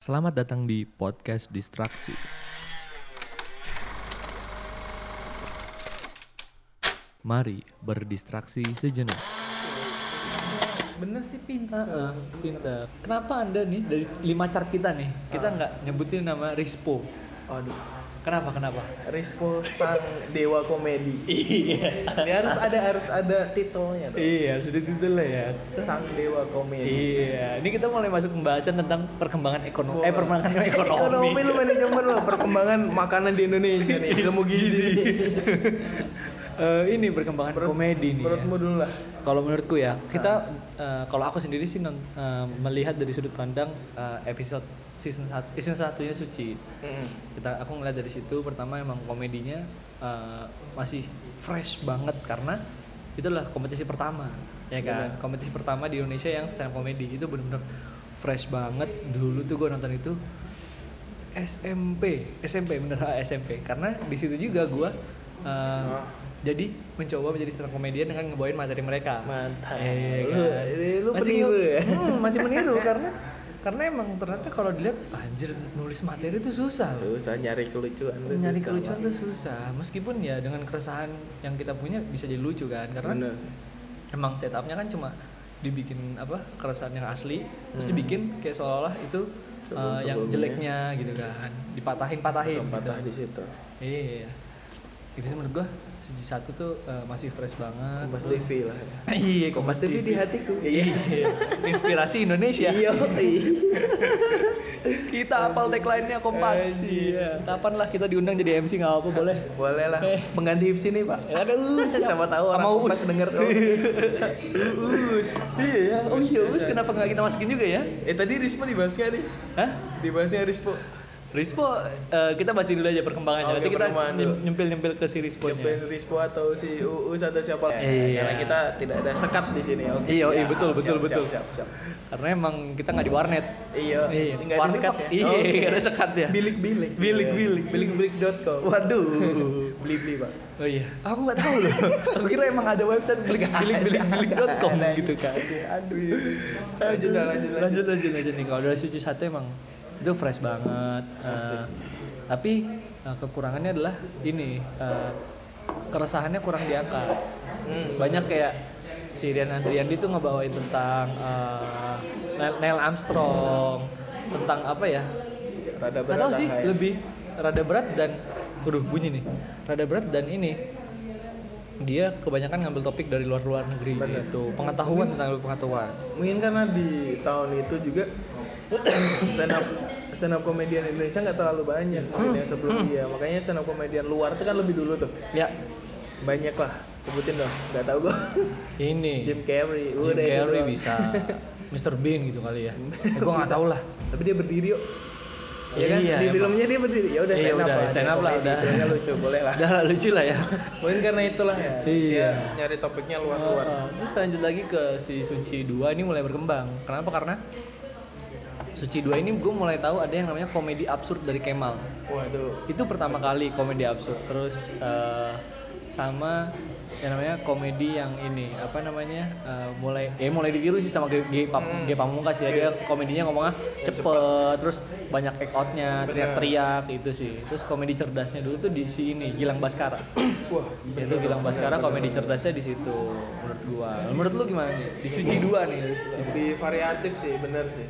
Selamat datang di podcast Distraksi. Mari berdistraksi sejenak. Bener sih pintar. pintar. Kenapa anda nih dari lima chart kita nih kita nggak nyebutin nama Rispo? Aduh, Kenapa kenapa? Rispo sang dewa komedi. Iya. Ini harus ada harus ada titelnya dong. Iya sudah titel lah ya. Sang dewa komedi. Iya. Ini kita mulai masuk pembahasan tentang perkembangan ekonomi. Eh perkembangan ekonomi. Ekonomi lu manajemen lu perkembangan makanan di Indonesia Iya. nih, ilmu gizi. Eh, ini perkembangan komedi nih. ya. Menurutmu dulu lah. Kalau menurutku ya kita eh, kalau aku sendiri sih non- eh, melihat dari sudut pandang eh, episode season satu season satunya Suci. kita aku ngeliat dari situ pertama emang komedinya eh, masih fresh banget karena itulah kompetisi pertama ya kan kompetisi pertama di Indonesia yang stand up comedy itu bener-bener fresh banget dulu tuh gue nonton itu SMP SMP bener ah, SMP karena di situ juga gue eh, jadi mencoba menjadi stand up comedian dengan ngebawain materi mereka Mantap. Iya, Lu- kan? ini lu masih peniru ya? Hmm, masih meniru karena karena emang ternyata kalau dilihat anjir nulis materi itu susah loh Susah nyari kelucuan. tuh nyari susah kelucuan banget. tuh susah meskipun ya dengan keresahan yang kita punya bisa jadi lucu kan karena Bener. emang setupnya kan cuma dibikin apa keresahan yang asli terus dibikin kayak seolah-olah itu eh, Hmm. Sebelum- yang sebelumnya. jeleknya gitu kan dipatahin patahin Langsung patah di situ. iya jadi sih menurut gua suji satu tuh eh, masih fresh banget Kompas terus- TV lah. iya Kompas TV di hatiku. Iya. Iya. inspirasi Indonesia Iya. kita apal tagline-nya kompas Iya. kapan lah kita diundang jadi MC nggak apa boleh Boleh lah. Pengganti Hipsi nih, Pak. Ya, aduh, Siapa tahu Eh. Sama orang Uus. Kompas denger tuh. Uus. Iya ya. Oh iya, Uus kenapa nggak kita masukin juga ya? Eh tadi Rispo dibahas nggak nih? Hah? Dibahasnya Rispo. Rispo, eh, kita bahasin dulu aja perkembangannya. Ah, Nanti Oke, kita perkembangan nyem- dulu. nyempil-nyempil ke si Rispo-nya. Ben Rispo atau si Uus atau siapa Iya. karena kita tidak ada sekat di sini oke Iya, iya, siap, betul, betul, siap, betul. siap, siap, siap. Karena emang kita nggak di warnet. iya Iya. nggak ada Warnet sekat pak- ya iya, nggak ada sekat ya. bilik bilik Iya, Bilik, bilik. bilik bilik Waduh. beli beli pak Oh iya. Aku nggak tahu loh. Aku kira emang ada website bilik bilik bilik bilik.com gitu kan. aduh iya. lanjut lah lanjut lanjut lanjut lanjut lanjut nih kalau dari suci satu emang itu fresh banget Eh, tapi eh, kekurangannya adalah ini eh, keresahannya kurang diangkat Hmm, banyak kayak si Rian Andriandi tuh ngebawain tentang eh, Neil, Neil Armstrong tentang apa ya rada nggak berat tahu sih lah, ya. lebih rada berat dan waduh bunyi nih rada berat dan ini dia kebanyakan ngambil topik dari luar-luar negeri Bener. gitu pengetahuan tentang pengetahuan mungkin karena di tahun itu juga stand up stand up komedian Indonesia nggak terlalu banyak mungkin Hmm, yang sebelum dia makanya stand up komedian luar itu kan lebih dulu tuh ya banyak lah sebutin dong nggak tahu gue ini Jim Carrey, Jim udah itu Carrey doang. bisa Mr. Bean gitu kali ya gue nggak tahu lah Tapi dia berdiri yuk. Ya kan? Iya, di emang. filmnya dia berdiri. Ya udah Iya, stand up udah, lah. stand dia up lah, komedi, udah. filmnya lucu, boleh lah. udah lah, lucu lah ya Mungkin karena itulah ya. Iya. Dia nyari topiknya luar-luar. Uh, terus lanjut lagi ke si Suci 2 ini mulai berkembang kenapa karena Suci 2 ini gue mulai tahu ada yang namanya komedi absurd dari Kemal Wah, itu itu pertama kali komedi absurd terus eh, sama yang namanya komedi yang ini apa namanya eh, mulai eh mulai ditiru sih sama G, G, Pam- G Pamungkas ya dia komedinya ngomongnya Ya, cepet, terus banyak act outnya teriak-teriak itu sih terus komedi cerdasnya dulu tuh di si ini Gilang Baskara wah, itu Gilang Baskara komedi cerdasnya di situ menurut gua menurut lu gimana nih di Suci dua nih lebih variatif sih, bener sih.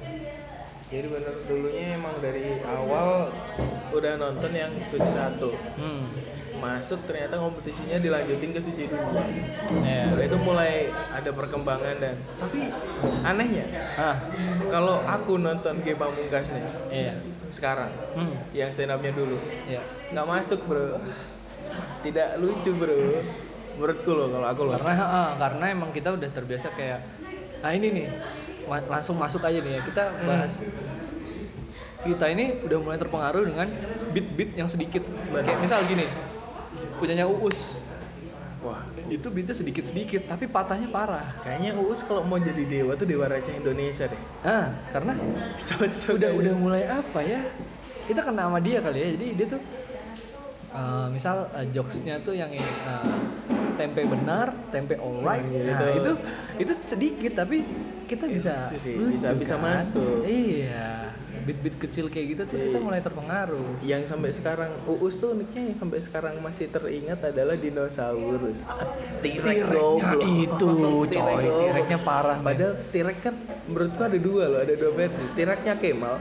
Jadi bener dulunya emang dari awal udah nonton yang suci satu hmm masuk ternyata kompetisinya dilanjutin ke suci dua ya Setelah itu mulai ada perkembangan dan tapi anehnya ah kalau aku nonton G Pamungkas nih iya sekarang hmm yang stand upnya dulu iya nggak masuk bro tidak lucu bro menurutku loh kalau aku loh karena ah, karena emang kita udah terbiasa kayak nah ini nih ma- langsung masuk aja nih ya kita bahas kita ini udah mulai terpengaruh dengan beat-beat yang sedikit Benar. kayak misal gini punyanya Uus wah itu beatnya sedikit-sedikit tapi patahnya parah kayaknya Uus kalau mau jadi dewa tuh dewa receh Indonesia deh ah karena cocok udah aja. udah mulai apa ya kita kena sama dia kali ya jadi dia tuh eh, misal eh, jokesnya tuh yang eh, tempe benar, tempe alright, Iya, nah, itu itu. itu sedikit tapi kita bisa Lucu sih, lucu, kan? bisa- bisa masuk. Iya, bit-bit kecil kayak gitu tuh Sih. kita mulai terpengaruh. yang sampai sekarang uus tuh uniknya yang sampai sekarang masih teringat adalah dinosaurus tirek goblok. Ah, itu, coy, goblok. tireknya parah, men. padahal tirek kan menurutku ada dua loh ada dua versi tireknya Kemal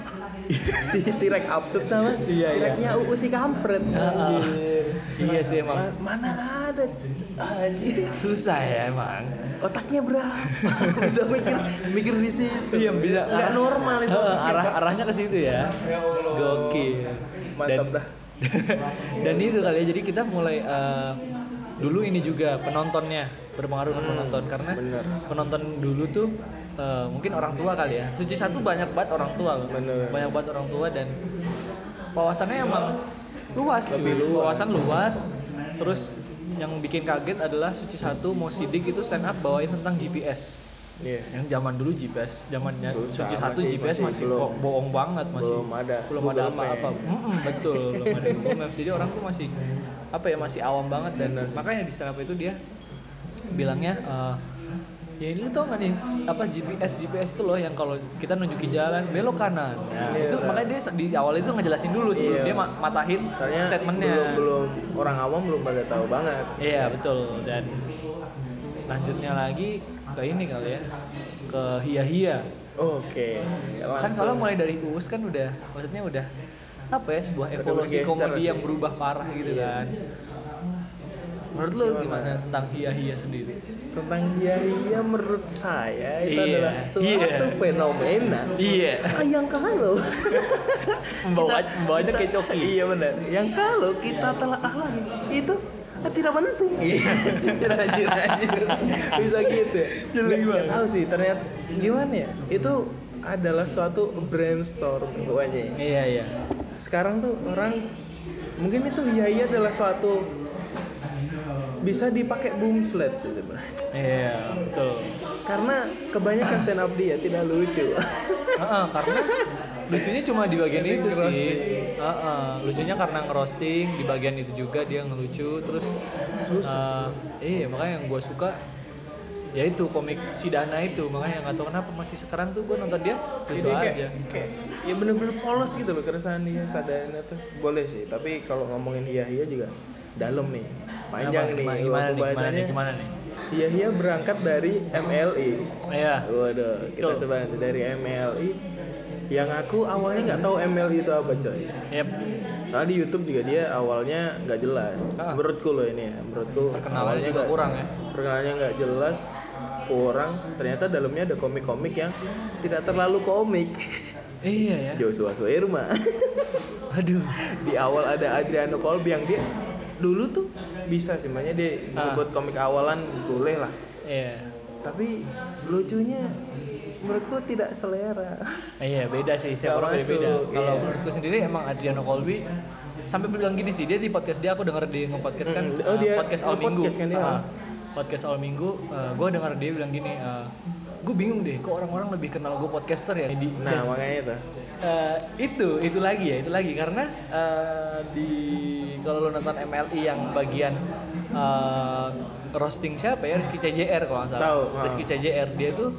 si tirek absurd sama tireknya uus si kampret Ah, Anjir. iya sih, emang. Ma- mana ada anjir Susah ya emang. otaknya berapa bisa mikir mikir di situ Iya bisa. nggak arah- normal itu Heeh, otaknya, arah Kak. arahnya ke situ ya. Gokil. mantap Dan- dah Dan itu kali ya. Jadi kita mulai eh, dulu ini juga penontonnya berpengaruh Hmm, ke penonton karena bener. penonton dulu tuh eh, mungkin orang tua kali ya. Suci satu banyak banget orang tua loh. Bener. Banyak banget orang tua dan wawasannya emang luas cuy. Lebih luas. Wawasan luas. Terus yang bikin kaget adalah Suci satu mau sidik itu stand up bawain tentang GPS Iya. yang zaman dulu GPS zamannya Susah, Suci satu masih- GPS masih masih belum. bo- bohong banget masih Belum ada belum Google ada apa-apa Map. Mm-mm, betul belum ada Google Maps jadi orang tuh masih apa ya masih awam banget dan Bener. makanya di startup itu dia bilangnya eh, ya ini lu tau gak nih apa GPS GPS itu loh yang kalau kita nunjukin jalan belok kanan Nah, Iya, itu bener. makanya dia se- di awal itu ngejelasin dulu sebelum Iya. dia ma- matahin soalnya statementnya belum belum orang awam belum pada tahu banget Iya betul dan lanjutnya lagi ke ini kali ya ke hia-hia. oke ya Kan soalnya mulai dari Uus kan udah maksudnya udah apa ya sebuah Udah evolusi bergeser komedi sih. yang berubah parah gitu Iya. kan. Menurut lu Gimana? gimana tentang hia-hia sendiri? tentang dia dia menurut saya itu Iya, adalah suatu iya. fenomena Iya. Ah, yang kalau Membawa kita- membawanya kita- kayak coki. iya benar yang kalau kita telah alami itu ah, tidak penting anjir anjir anjir bisa gitu ya Jelek Nggak- nggak banget. tahu sih ternyata gimana ya itu adalah suatu brainstorm pokoknya Iya iya. sekarang tuh orang mungkin itu iya iya adalah suatu bisa dipakai boom sled sih sebenarnya Iya betul. karena kebanyakan stand up dia tidak lucu Heeh, karena lucunya cuma di bagian Penting itu sih. ngerosting. Heeh, lucunya karena ngerosting di bagian itu juga dia ngelucu terus Susah eh makanya yang gue suka ya itu komik Sidana itu makanya nggak tahu kenapa masih sekarang tuh gue nonton dia lucu Jadi aja. kayak, kayak ya bener-bener polos gitu loh keresahan dia sadayana tuh boleh sih tapi kalau ngomongin iya iya juga dalam nih panjang Kenapa? nih gimana, gimana, nih, Wah, gimana nih pembahasannya gimana nih? iya iya berangkat dari MLI Iya. Waduh, kita Betul. sebenarnya dari MLI yang aku awalnya nggak tahu MLI itu apa coy. Yep. Soalnya di YouTube juga dia awalnya nggak jelas. Ah. Menurutku loh ini ya, menurutku Perkenalannya juga nggak- kurang ya. Perkenalannya nggak jelas, kurang. Ternyata dalamnya ada komik-komik yang tidak terlalu komik. Iya ya. Joshua Suirma. Aduh. di awal ada Adriano Colby yang dia dulu tuh bisa sih, makanya dia Ah. disebut komik awalan boleh lah. Iya. Tapi lucunya menurutku tidak selera. Iya beda sih, Nggak saya orang beda. masuk, Kalau iya. menurutku sendiri emang Adriano Colby sampai bilang gini sih, dia di podcast dia aku denger di nge-podcast kan Mm, oh, eh, dia podcast all minggu. nge-podcast kan dia. Ah, podcast all minggu, gue denger dia bilang gini, gue bingung deh, kok orang-orang lebih kenal gue podcaster ya? Di- Nah, makanya tuh. Eh, itu itu lagi ya itu lagi karena eh, di kalau lo nonton MLI yang bagian eh, roasting siapa ya Rizky CJR kalau nggak salah Tahu, ah. Rizky CJR dia tuh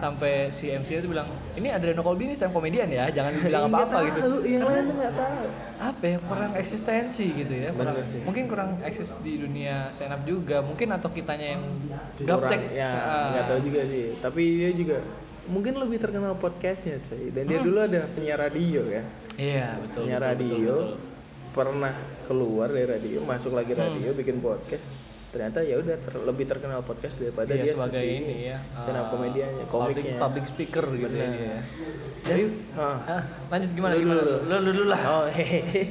sampai si MC itu bilang ini Adriano Colby ini stand komedian ya jangan bilang Iya, Nggak apa-apa gitu tahu, yang lain nggak tahu. apa ya kurang eksistensi gitu ya kurang, Bener sih. mungkin kurang eksis di dunia stand up juga mungkin atau kitanya yang Kurang, gaptek ya Ah. nggak tahu juga sih. Tapi dia juga mungkin lebih terkenal podcastnya cuy. Dan Hmm. dia dulu ada penyiar radio ya, iya betul penyiar betul, betul, radio betul. Hmm. pernah keluar dari radio, masuk lagi radio, bikin podcast. Ternyata ya udah ter- lebih terkenal podcast daripada Iya, dia sebagai sendiri. ini ya stand up eh, komediannya, public, komiknya. public speaker gitu ya Bener. dia ya Jadi, Jadi ah. ah, lanjut gimana Lu gimana dulu. lu lu dulu lah oh hehehe.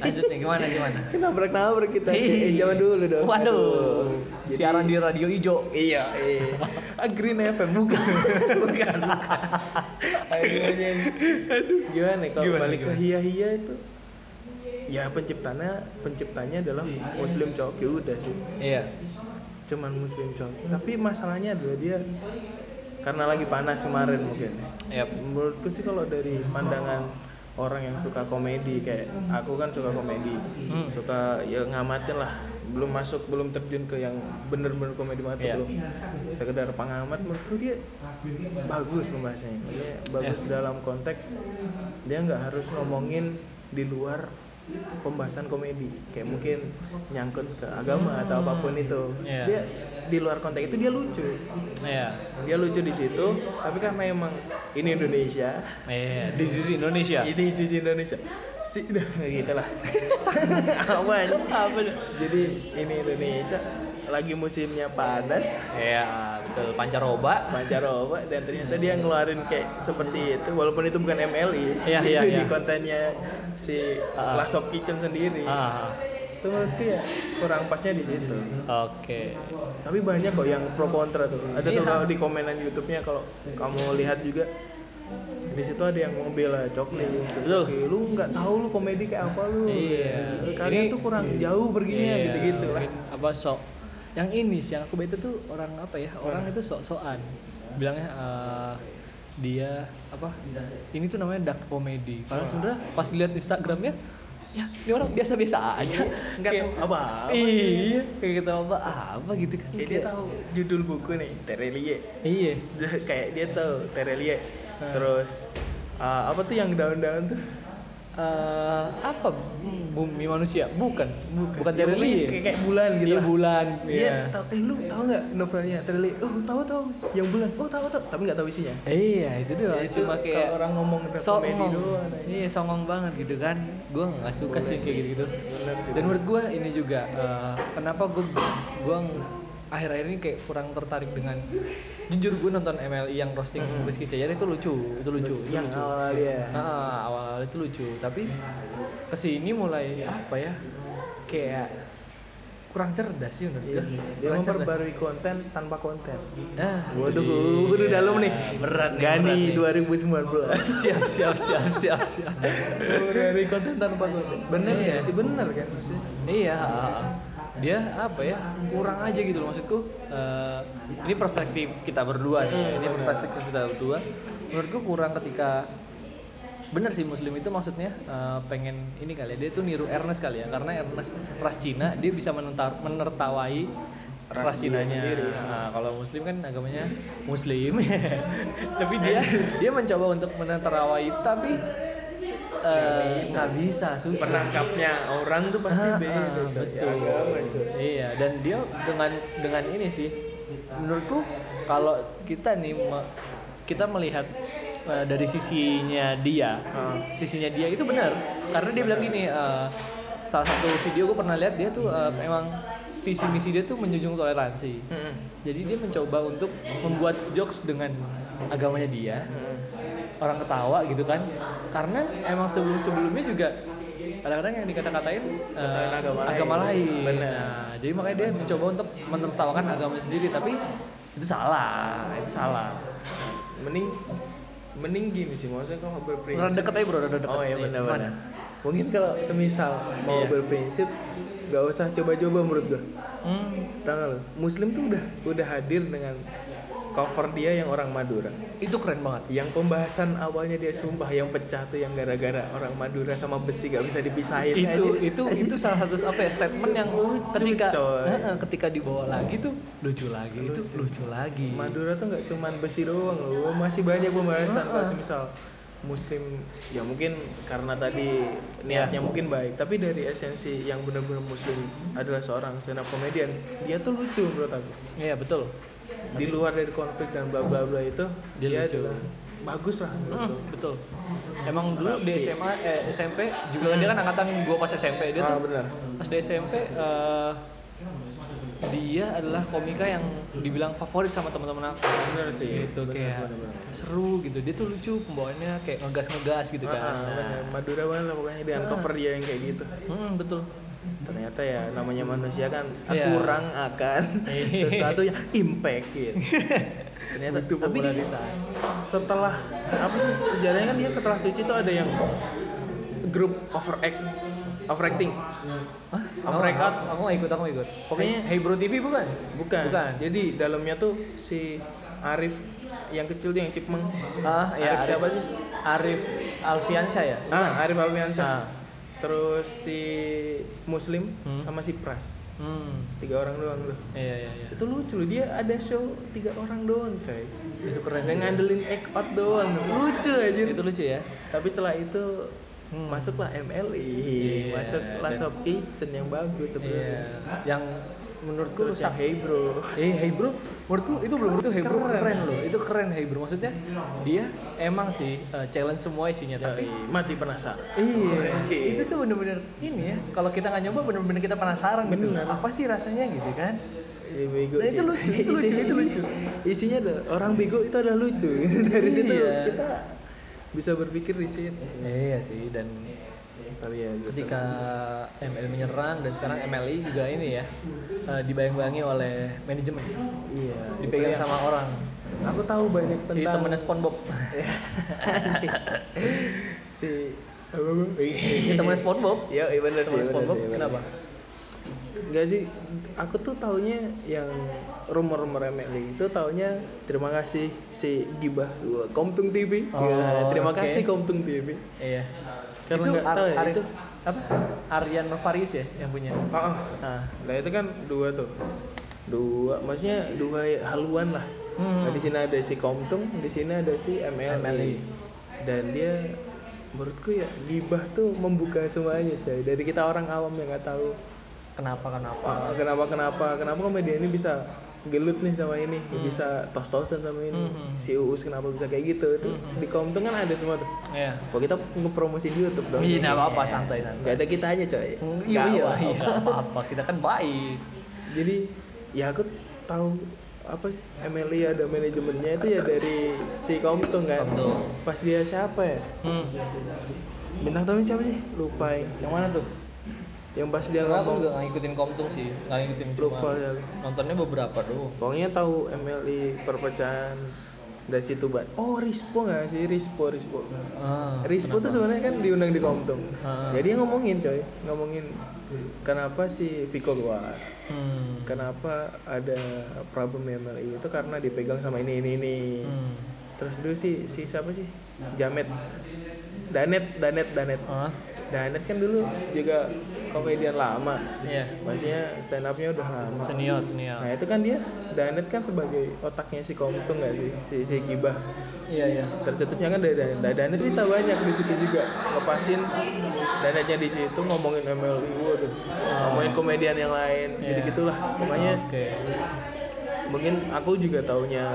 lanjut nih gimana gimana Kenapa nabrak kita? Eh, jangan dulu dong. waduh Jadi- siaran di radio ijo Iya, iya. Ah, Green FM bukan. bukan, bukan. Aduh, anjing. Gimana kalau Gimana, balik gimana? ke hia-hia itu? Ya penciptanya penciptanya adalah Hmm. Muslim coki udah sih. iya Cuman Muslim coki. Tapi masalahnya adalah dia karena lagi panas kemarin mungkin. Yap. Menurutku sih kalau dari pandangan orang yang suka komedi kayak aku kan suka komedi Hmm. suka ya ngamatin lah belum masuk belum terjun ke yang bener-bener komedi banget tuh Iya. belum sekedar pengamat menurutku dia bagus pembahasannya Iya. Maksudnya bagus dalam konteks dia nggak harus ngomongin di luar pembahasan komedi kayak mungkin nyangkut ke agama atau apapun itu Iya. dia di luar konteks itu dia lucu Iya. dia lucu di situ tapi karena emang ini Indonesia Iya, di sisi Indonesia. ini sisi Indonesia si gitu lah apa ini? Apa tuh? jadi ini Indonesia lagi musimnya panas Iya, betul pancaroba. pancaroba dan ternyata dia ngeluarin kayak seperti itu walaupun itu bukan MLI Iya, itu iya, di iya. kontennya si Ah. Last of Kitchen sendiri Ah, itu menurutku ya kurang pasnya di situ oke. tapi banyak kok yang pro kontra tuh ada tuh Iya. kalau di komenan YouTube-nya kalau kamu lihat juga di situ ada yang membela cokli Iya. Betul. Cokli, lu nggak tahu lu komedi kayak apa lu Iya. kalian Ini- tuh kurang jauh perginya Iya, gitu gitu lah mungkin Apa sok? Yang ini sih yang aku bete tuh orang apa ya? Orang itu sok-sokan. Bilangnya eh, dia apa? Ini tuh namanya dark comedy. Padahal sebenarnya pas dilihat Instagramnya, ya ini orang biasa-biasa aja. Iya, nggak Kayak- tahu apa Iya, kayak kita apa apa gitu kan. kayak dia tahu judul buku nih Terelie Iya. kayak dia tahu Terelie Nah. terus ah, apa tuh yang daun-daun tuh Eh, apa bumi manusia? Bukan, bukan, bukan Ya, pokoknya Terelie. kayak, kayak bulan gitu Iya, lah. bulan. Iya, tahu eh lu tahu nggak novelnya Terli? Oh, tahu tahu. Yang bulan. Oh, tahu tahu. Tapi nggak tahu isinya. Iya, itu doang. Ya, itu Cuma kayak kalau orang ngomong tentang komedi doang. Iya, songong banget gitu kan. Gue nggak suka Boleh sih kayak sih. gitu-gitu. Bener sih. Dan menurut gue ini juga eh, kenapa gue gue akhir-akhir ini kayak kurang tertarik dengan jujur gue nonton MLI yang roasting Rizky Cahyani itu lucu, itu lucu, itu Hmm. yang lucu. awal ya. Nah, awal itu lucu, tapi kesini mulai apa ya? Kayak kurang cerdas sih menurut gue. Iya sih. Dia Kurang cerdas. memperbarui konten tanpa konten. Nah, Waduh, iya. waduh dalam nih. Berat nih. Gani berat nih. 2019. siap siap siap siap siap. Dari konten tanpa konten. Bener Iya. ya sih, bener kan sih. iya, dia apa ya kurang aja gitu loh maksudku. eh, ini perspektif kita berdua nih, ya. ini Hmm, Benar. perspektif kita berdua. Menurutku kurang ketika bener sih Muslim itu maksudnya eh, pengen ini kali ya dia tuh niru Ernest kali ya karena Ernest ras Cina dia bisa menentar, menertawai Ras ras dia Cinanya. sendiri. ya. Nah, kalau Muslim kan agamanya Muslim, tapi dia dia mencoba untuk menertawai tapi eh, nggak bisa susah. Penangkapnya orang tuh pasti Ah, beda. ah, coy. betul. Agama, coy. Iya, dan dia dengan dengan ini sih menurutku kalau kita nih me- kita melihat eh, dari sisinya dia, Ah. sisinya dia itu benar karena dia bilang gini eh, salah satu video gue pernah lihat dia tuh eh, emang visi misi dia tuh menjunjung toleransi. Mm-mm. Jadi dia mencoba untuk membuat jokes dengan agamanya dia Mm-mm. orang ketawa gitu kan karena emang sebelum sebelumnya juga kadang-kadang yang dikata-katain eh, Katain agama lain. lain, Bener. Nah, jadi makanya dia mencoba untuk menertawakan agama sendiri tapi itu salah itu salah Mending mending gini sih, maksudnya kalau berprinsip. udah deket aja bro udah deket Oh iya Nih, benar-benar. mana? Mungkin kalau semisal mau Iya. berprinsip nggak usah coba-coba menurut gua. hmm. Tahu nggak lu? Muslim tuh udah udah hadir dengan cover dia yang orang Madura. itu keren banget Yang pembahasan awalnya dia sumpah yang pecah tuh yang gara-gara orang Madura sama besi gak bisa dipisahin. itu Anjir. itu itu salah satu apa ya statement yang Iya, Lucu, ketika coy. Heeh, ketika dibawa lagi tuh lucu lagi itu lucu lagi Madura tuh nggak cuman besi doang loh, masih banyak pembahasan Heeh. kalau semisal Muslim ya mungkin karena tadi niatnya Ya. mungkin baik, tapi dari esensi yang benar-benar Muslim adalah seorang stand up comedian, dia tuh lucu menurut aku. iya betul Di luar dari konflik dan bla bla bla itu, Dia dia, lucu. adalah bagus lah menurut Hmm, aku. betul. Emang dulu di SMA, eh, SMP juga dia kan angkatan gua pas SMP dia Hmm. Ah, tuh benar. pas di SMP eh, dia adalah komika yang dibilang favorit sama teman-teman aku. Benar sih. Gitu Benar, kayak benar, benar. seru gitu. Dia tuh lucu pembawaannya kayak ngegas-ngegas gitu kan. Ah, ah, Nah, benar. Madura banget lah pokoknya dia uncover dia yang kayak gitu. hmm, betul. Ternyata ya namanya manusia kan Iya. kurang akan sesuatu yang impact gitu. Ternyata Butuh tapi popularitas. setelah apa sih sejarahnya kan dia setelah suci itu ada yang grup overact overacting Hah? Aku- Apa record? Aku nggak ikut, aku nggak ikut. Pokoknya- Hey Bro TV bukan? bukan, Bukan. jadi dalamnya tuh si Arif yang kecil tuh yang Chipmunk. ah ya Arif siapa sih? Arif Alfiansyah ya Ah, Arif Alwiansyah. Ah. Terus si Muslim Hmm. sama si Pras. hmm Tiga orang doang tuh. iya iya iya Itu lucu loh, dia ada show tiga orang doang, coy. itu keren sih. Dan ngandelin act out doang. Lucu aja. itu lucu ya Tapi setelah itu Hmm. masuklah E. MLI, Iya, masuklah dan- Shop Kitchen yang bagus iya sebenarnya. yang menurutku Terus rusak yang Hey Bro. Eh, hey bro, menurutku itu belum itu hey bro Keren. keren, loh. Itu keren hey bro. Maksudnya dia emang sih eh, challenge semua isinya tapi Yoi, mati penasaran. Iya, Keren sih. itu tuh bener-bener ini ya. Kalau kita nggak nyoba, bener-bener kita penasaran gitu. Bener. Apa sih rasanya gitu kan? Iya, bego Nah, sih. itu lucu, itu lucu, Isinya- itu lucu. Isinya ada orang bego itu adalah lucu. Dari situ Iya. kita bisa berpikir di situ. Iya sih. Dan Tapi ya gitu. ketika ML menyerang dan sekarang MLI juga ini ya eh, dibayang-bayangi oleh manajemen, iya, dipegang itu sama orang. yang- aku tahu banyak Si tentang temennya SpongeBob, si apa Bu? si temennya SpongeBob, Yo, iya benar sih. temennya SpongeBob, kenapa? Enggak sih, aku tuh taunya yang rumor-rumor MLI itu taunya terima kasih si Gibah gua, Komtung TV. Oh, Ya, terima oke. kasih Komtung TV. Iya. Karena nggak Ar- tahu ya, Arif- itu. apa? Aryan Novaris ya yang punya. Ah, ah. Nah, Nah itu kan dua tuh dua maksudnya dua ya- haluan lah Hmm. nah, di sini ada si Komtung di sini ada si E. MLI, MLI. dan dia menurutku ya gibah tuh membuka semuanya coy dari kita orang awam yang nggak tahu kenapa kenapa? "Wah, kenapa kenapa kenapa komedian ini bisa gelut nih sama ini bisa tos-tosan sama ini Mhm. si Uus kenapa bisa kayak gitu itu di Komtung kan ada semua tuh Iya. Wah kita ngepromosi di YouTube dong Iya, nggak apa-apa santai santai. Gak ada kita aja coy Iya Nggak iya apa-apa. iya nggak apa-apa kita kan baik. jadi ya aku tahu apa sih, MLI ada manajemennya itu ya dari si Komtung kan Komtung. pas dia siapa ya Hmm. bintang tamu siapa sih lupa ya. Yang mana tuh? yang pas dia Karena aku juga ngomong nggak ngikutin Komtung sih, nggak ngikutin cuma lupa ya nontonnya beberapa doang. pokoknya tahu MLI perpecahan dari situ ban oh Rispo nggak sih Rispo Rispo Ah, Rispo tuh sebenarnya kan diundang di Komtung Ah. jadi dia ngomongin coy ngomongin kenapa si Viko keluar Hmm. kenapa ada problem MLI itu karena dipegang sama ini ini ini Hmm. terus dulu si si siapa sih Jamet Danet Danet Danet Ah, Danet kan dulu juga komedian lama iya. maksudnya stand upnya udah lama Senior, senior. nah itu kan dia Danet kan sebagai otaknya si Komtung nggak sih si si Gibah Iya iya. tercetusnya kan dari Danet Nah, Danet cerita banyak di situ juga ngepasin Danetnya di situ ngomongin MLI waduh ngomongin komedian yang lain Iya. gitu gitulah pokoknya Ah. Oke. mungkin aku juga taunya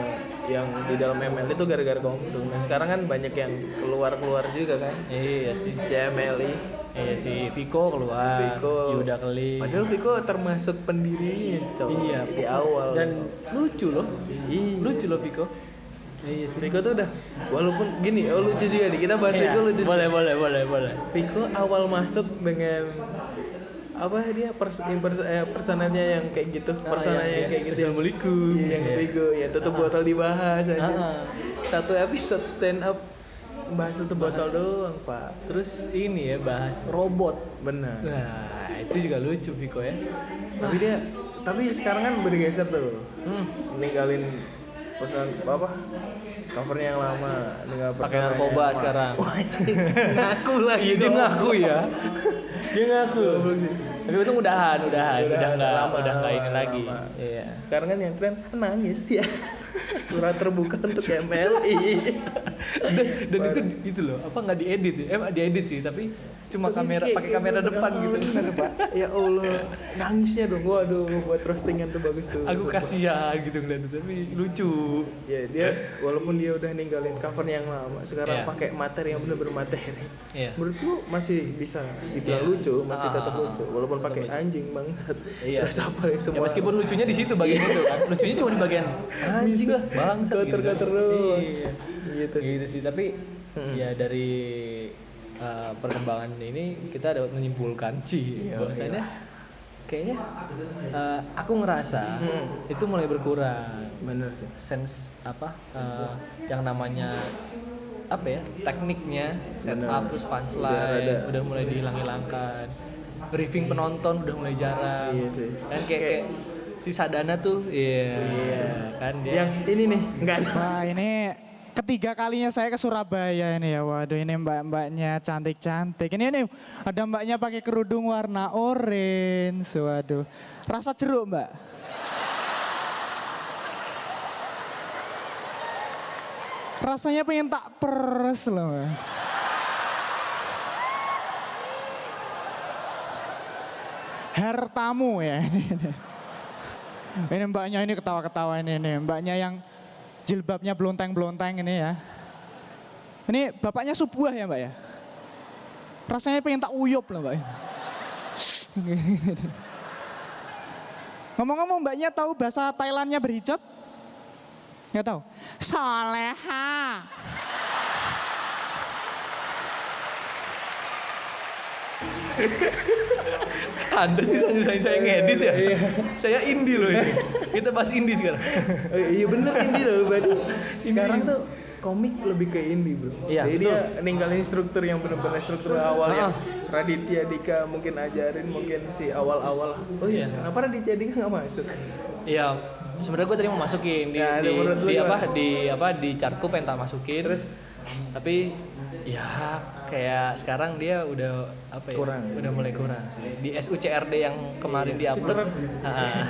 yang di dalam ML itu gara-gara Komtung. Nah, sekarang kan banyak yang keluar-keluar juga kan. Iya sih. Si MLI. Iya si Viko keluar. Viko. Yuda Keling. Padahal Viko termasuk pendirinya, coy. Iya. Di awal. Dan lucu loh. Iya. Lucu loh Viko. Iya sih. Viko tuh udah walaupun gini, oh lucu juga nih. Kita bahas Iya, Viko lucu. Boleh, boleh, boleh, boleh. Viko awal masuk dengan apa dia pers impers- eh, personanya yang kayak gitu, Ah, iya, personanya yang iya. kayak gitu. Assalamualaikum. Iya, yang Iya. Viko ya tutup botol dibahas aja. Ah. Satu episode stand up bahas tutup botol doang, Pak. Terus ini ya bahas robot. Benar. Nah, itu juga lucu Viko ya. Tapi dia tapi sekarang kan bergeser tuh. Hmm. Ninggalin pesan apa? Covernya yang lama, ninggal Pakai personanya narkoba yang lama. sekarang. Wah, anjing. ngaku lagi Dia dong. ngaku ya. Dia ngaku. Goblok sih. Tapi untung udahan, Iya, udahan, Udah, udah nggak, lama, udah nggak ini lama, lagi. lama. Iya. Sekarang kan yang tren nangis ya. Surat terbuka untuk MLI. Dan, dan itu itu loh, apa nggak diedit ya? Eh, diedit sih, tapi cuma Tapi kamera kayak- pakai kayak kamera udah depan gitu. bener, Pak. Ya Allah, nangisnya dong. Waduh, buat roastingan tuh bagus tuh. Aku Sumpah. kasihan gitu ngeliat itu, tapi lucu. Ya dia walaupun dia udah ninggalin cover yang lama, sekarang Iya. pakai materi yang bener-bener materi. Iya. Menurutku masih bisa dibilang Iya. lucu, masih Ah, tetap ah, lucu ah. walaupun Tetap pakai lucu. anjing banget. Iya. Terus apa yang semua? Ya meskipun lucunya di situ bagian itu kan. Lucunya cuma di bagian anjing lah, bangsa Kotor-kotor doang. Iya. gitu sih. Gitu sih, tapi Mm-mm. ya dari uh, perkembangan ini kita dapat menyimpulkan sih Iya, bahwasanya kayaknya uh, aku ngerasa Mm. itu mulai berkurang Bener sih. sense apa uh, yang namanya apa ya tekniknya Benar. setup terus Udah punchline rada. udah, mulai dihilang-hilangkan briefing penonton udah mulai jarang Iya sih. dan kayak, kayak si Sadana tuh, iya kan dia. Yang ini nih, enggak ada. Wah ini ketiga kalinya saya ke Surabaya ini ya. Waduh ini mbak-mbaknya cantik-cantik. Ini nih ada mbaknya pakai kerudung warna orange. Waduh. Rasa jeruk mbak. Rasanya pengen tak peres loh. Mbak. Hartamu ya ini. Ini mbaknya ini ketawa-ketawa ini, ini mbaknya yang jilbabnya blonteng-blonteng ini ya. Ini bapaknya subuah ya mbak ya? Rasanya pengen tak uyup loh mbak. Ngomong-ngomong mbaknya tahu bahasa Thailandnya berhijab? Nggak tahu. Soleha. Anda bisa nyusahin saya ngedit ya? Iya. saya indie loh ini. Kita bahas indie sekarang. Eh, iya bener indie loh, berarti sekarang tuh komik lebih ke indie bro. Iya, Ah. Jadi dia ninggalin struktur yang benar-benar struktur awal yang Raditya Dika mungkin ajarin mungkin si awal-awal. Oh iya, Iya. kenapa Raditya Dika nggak masuk? Iya, sebenarnya gue tadi mau masukin di, Ya, di, menurut lu di gimana? apa di apa di chartku pengen tak masukin. Tapi ya kayak sekarang dia udah apa ya? Kurang. Iya, Udah mulai kurang sih. Di SUCRD yang kemarin di-upload. ah,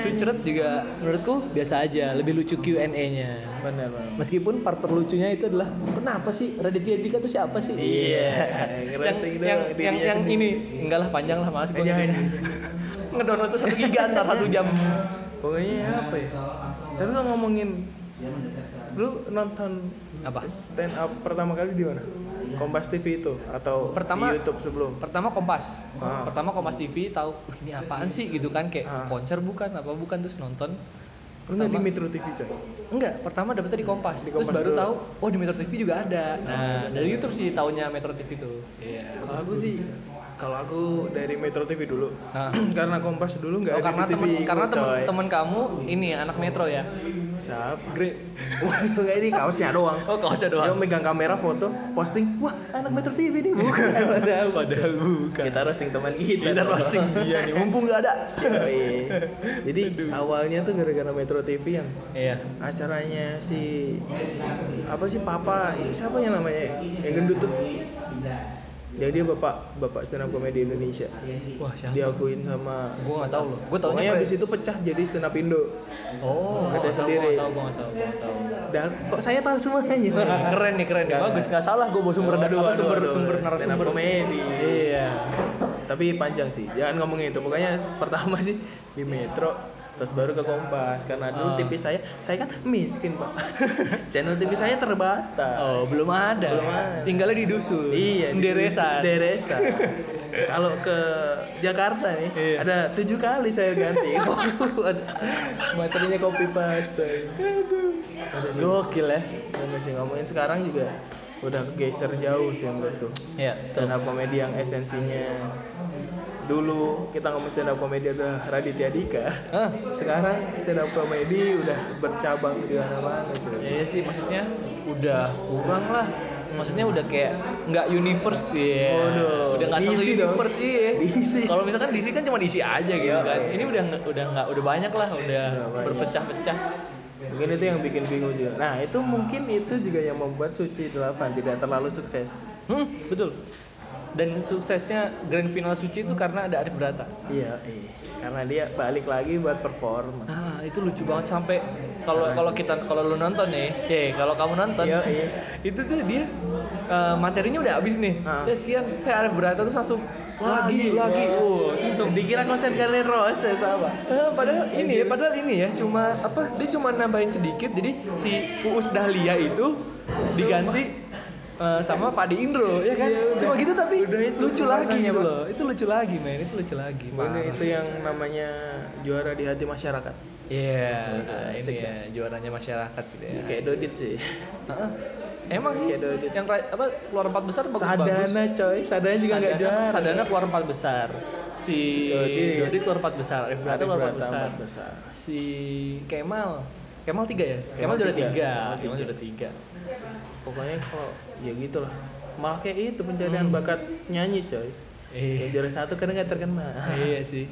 Suceret juga menurutku biasa aja, lebih lucu Q&A-nya. Bener banget. Meskipun part terlucunya itu adalah kenapa sih Raditya Dika tuh siapa sih? Iya, yang roasting yang dong yang, dirinya yang sendiri. ini enggak lah panjang lah mas. Eh, jangan. Ngedownload tuh satu giga ntar satu jam. Pokoknya apa ya? Tapi kalau ngomongin lu nonton Apa? stand up pertama kali di mana? Kompas TV itu atau Pertama- di YouTube sebelum? Pertama Kompas. Ah. Pertama Kompas TV tahu "Wih, ini apaan sih gitu kan kayak Ah. konser bukan apa bukan terus nonton. Lu nggak di Pertama- Metro TV coy? Enggak, pertama dapetnya di Kompas. Di terus Kompas baru dulu. Ah, tahu oh di Metro TV juga ada. Nah, dari YouTube sih taunya Metro TV itu. Iya. Kalau aku sih, kalau aku dari Metro TV dulu, Ah. karena Kompas dulu nggak Oh, ada karena di TV. temen karena ku, temen, coy. temen kamu ini anak Metro ya. siapa? Grip. Waduh, nggak ini kaosnya doang. Oh, kaosnya doang. Yang megang kamera foto, posting, wah anak Metro TV nih bukan. Padahal, Padahal bukan. kita roasting teman kita. Kita dong. roasting dia nih, mumpung nggak ada. Yoi. Jadi awalnya tuh gara-gara Metro TV yang Iya. acaranya si apa sih papa ini siapa yang namanya yang gendut tuh yang dia bapak bapak stand up comedy Indonesia Wah, siapa? diakuin sama Gue nggak tahu loh. Gue taunya pokoknya Fre- abis itu pecah jadi stand up Indo Oh, gua Ada nggak tahu, sendiri. Gua nggak tahu, gua nggak tahu, gua nggak tahu. dan kok saya tahu semuanya keren nih keren nih Keren. bagus nggak salah gue bawa sumber Aduh, data apa aduh, sumber aduh. sumber Stand up narasumber comedy. iya tapi panjang sih jangan ngomongin itu pokoknya pertama sih di metro terus baru ke kompas karena dulu Ah. TV saya saya kan miskin pak channel TV saya terbatas oh belum ada Belum ada. tinggalnya di dusun Iya, di deresan Deresa. Kalau ke Jakarta nih, Iya. ada tujuh kali saya ganti. Waduh, Materinya copy paste. gokil ya Dan masih ngomongin sekarang juga udah geser jauh sih menurutku. iya Stand up comedy yang esensinya dulu kita ngomong stand up comedy ada Raditya Dika. ah Sekarang stand up comedy udah bercabang di mana-mana. cuy. iya sih maksudnya udah kurang lah maksudnya udah kayak nggak universe iya Waduh, udah nggak satu diisi dong. universe iya Diisi. Iya. kalau misalkan diisi kan cuma diisi aja gitu kan ini udah nggak- udah nggak udah banyak lah udah banyak. berpecah-pecah Mungkin itu yang bikin bingung juga. Nah, itu mungkin itu juga yang membuat Suci 8 tidak terlalu sukses. hmm betul dan suksesnya grand final suci itu karena ada Arif Brata Iya, iya. Karena dia balik lagi buat performa. Ah, itu lucu banget sampai kalau kalau kita kalau lu nonton nih, ya kalau kamu nonton, Iya, iya. itu tuh dia eh, materinya udah habis nih. Ah. ya. Terus sekian, saya ada berata terus langsung lagi lagi, wow, terus langsung Iya. Dikira konsen Karen Rose sama. Eh, padahal ini ya, padahal ini ya cuma apa? Dia cuma nambahin sedikit. Jadi si Uus Dahlia itu diganti eh, sama Pak Di Indro ya kan? cuma gitu tapi Iya, Udah itu lucu lagi rasanya, gitu Bang. loh. Itu lucu lagi, men. Itu lucu lagi. Ini Parah. itu ya. yang namanya juara di hati masyarakat. Iya, Udah, nah, ini asik ya juaranya masyarakat gitu ya. Kayak Dodit sih. Heeh. Emang sih Kayak Dodit. yang ra- apa keluar empat besar bagus Sadana coy, Sadana juga nggak juara. Sadana keluar empat besar. Si Dodit. Dodi keluar empat besar. Arif Brata Arif keluar empat Brata besar. empat besar. Si Kemal Kemal tiga ya? Kemal Kemal juara tiga. tiga. Kemal Kemal tiga. juara tiga. Pokoknya kalau ya gitu lah. Malah kayak itu pencarian bakat nyanyi coy. Hmm. Yang Iya. juara satu karena nggak terkenal. Iya sih.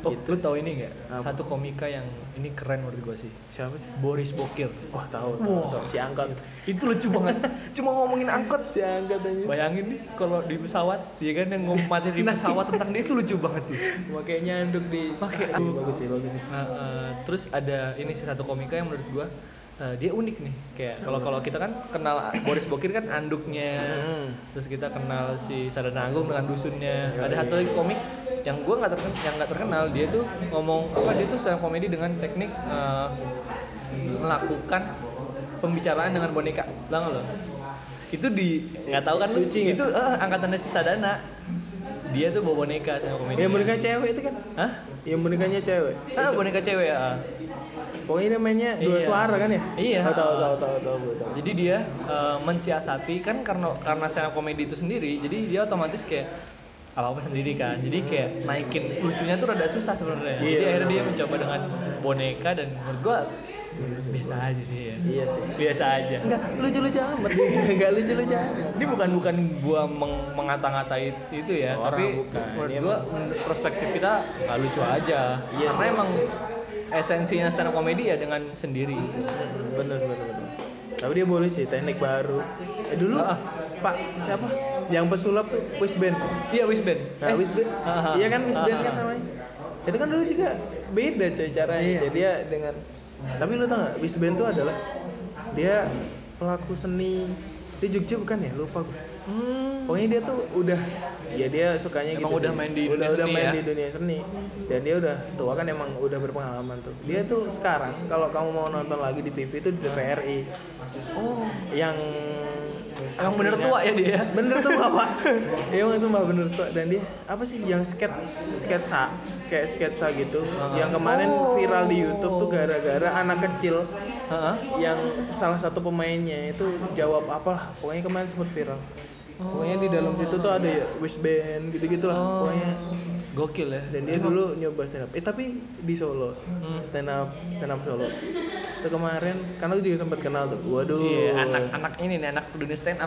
Oh, Gitu. lu tahu ini nggak? Apa? Satu komika yang ini keren menurut gua sih. Siapa sih? Boris Bokir. Wah tahu, tahu, Wah. tahu. si angkot. Itu lucu banget. Cuma ngomongin angkot. Si angkot aja. Bayangin nih kalau di pesawat, dia kan yang ngomong materi pesawat tentang dia itu lucu banget tuh. Pakai nyanduk di. Pakai- Aduh, bagus sih, bagus sih. Nah, eh, terus ada ini sih satu komika yang menurut gua eh, dia unik nih. Kayak kalau kalau kita kan kenal Boris Bokir kan anduknya. Terus kita kenal si Sadana Agung dengan dusunnya. Ada satu lagi komik yang gua nggak terkenal, yang nggak terkenal dia tuh ngomong apa dia tuh sedang komedi dengan teknik eh, melakukan pembicaraan dengan boneka. Tahu nggak lo? Itu di nggak tahu kan lu? Suci nggak? itu eh, angkatannya si Sadana. Dia tuh bawa boneka sama komedi. Yang boneka Ya, Iya, cewek itu kan? Hah? Yang bonekanya cewek. Ah, boneka cewek ya. Pokoknya namanya dua Iya. suara kan ya? Iya. Oh, tahu tahu tahu tahu gua tahu. Jadi dia eh, mensiasati kan karena karena stand up komedi itu sendiri, jadi dia otomatis kayak apa apa sendiri kan. Jadi kayak naikin lucunya tuh rada susah sebenarnya. Jadi Iya, akhirnya dia mencoba dengan boneka dan menurut gua biasa aja sih ya. Iya sih. Biasa aja. Enggak lucu-lucu amat. Enggak lucu-lucu amat. Ini bukan bukan gua meng- mengata-ngatain itu ya, Orang, tapi bukan. menurut Ini gua menurut perspektif kita nggak lucu aja. Iya karena sih. emang esensinya stand up komedi ya dengan sendiri. Bener bener bener. Tapi dia boleh sih teknik baru. Eh, dulu Ah. Pak siapa? Yang pesulap tuh West Band. Iya, Wisben. Nah, West Band. ah, Iya kan West ah, Band kan ah. namanya. Itu kan dulu juga beda coy caranya. Iya Jadi ya dengan tapi lu tau gak West Band tuh adalah dia pelaku seni di Jogja bukan ya lupa gue. Pokoknya dia tuh udah ya dia sukanya Hmm. Emang gitu. udah sih. main di udah, dunia udah seni main ya? di dunia seni dan dia udah tua kan emang udah berpengalaman tuh. Dia tuh sekarang kalau kamu mau nonton lagi di TV tuh di TVRI Oh, yang emang bener tua ya dia? bener tua pak emang sumpah Iya, bener tua dan dia apa sih yang sketch sketsa kayak sketsa gitu yang kemarin viral di YouTube tuh gara-gara anak kecil Heeh. yang salah satu pemainnya itu jawab apalah pokoknya kemarin sempat viral pokoknya di dalam situ tuh ada ya wishband gitu gitulah pokoknya Oh. Gokil ya. dan dia dulu nyoba stand up eh tapi di Solo stand up stand up Solo itu kemarin karena gue juga sempat kenal tuh waduh Si anak-anak ini nih, anak dunia stand up.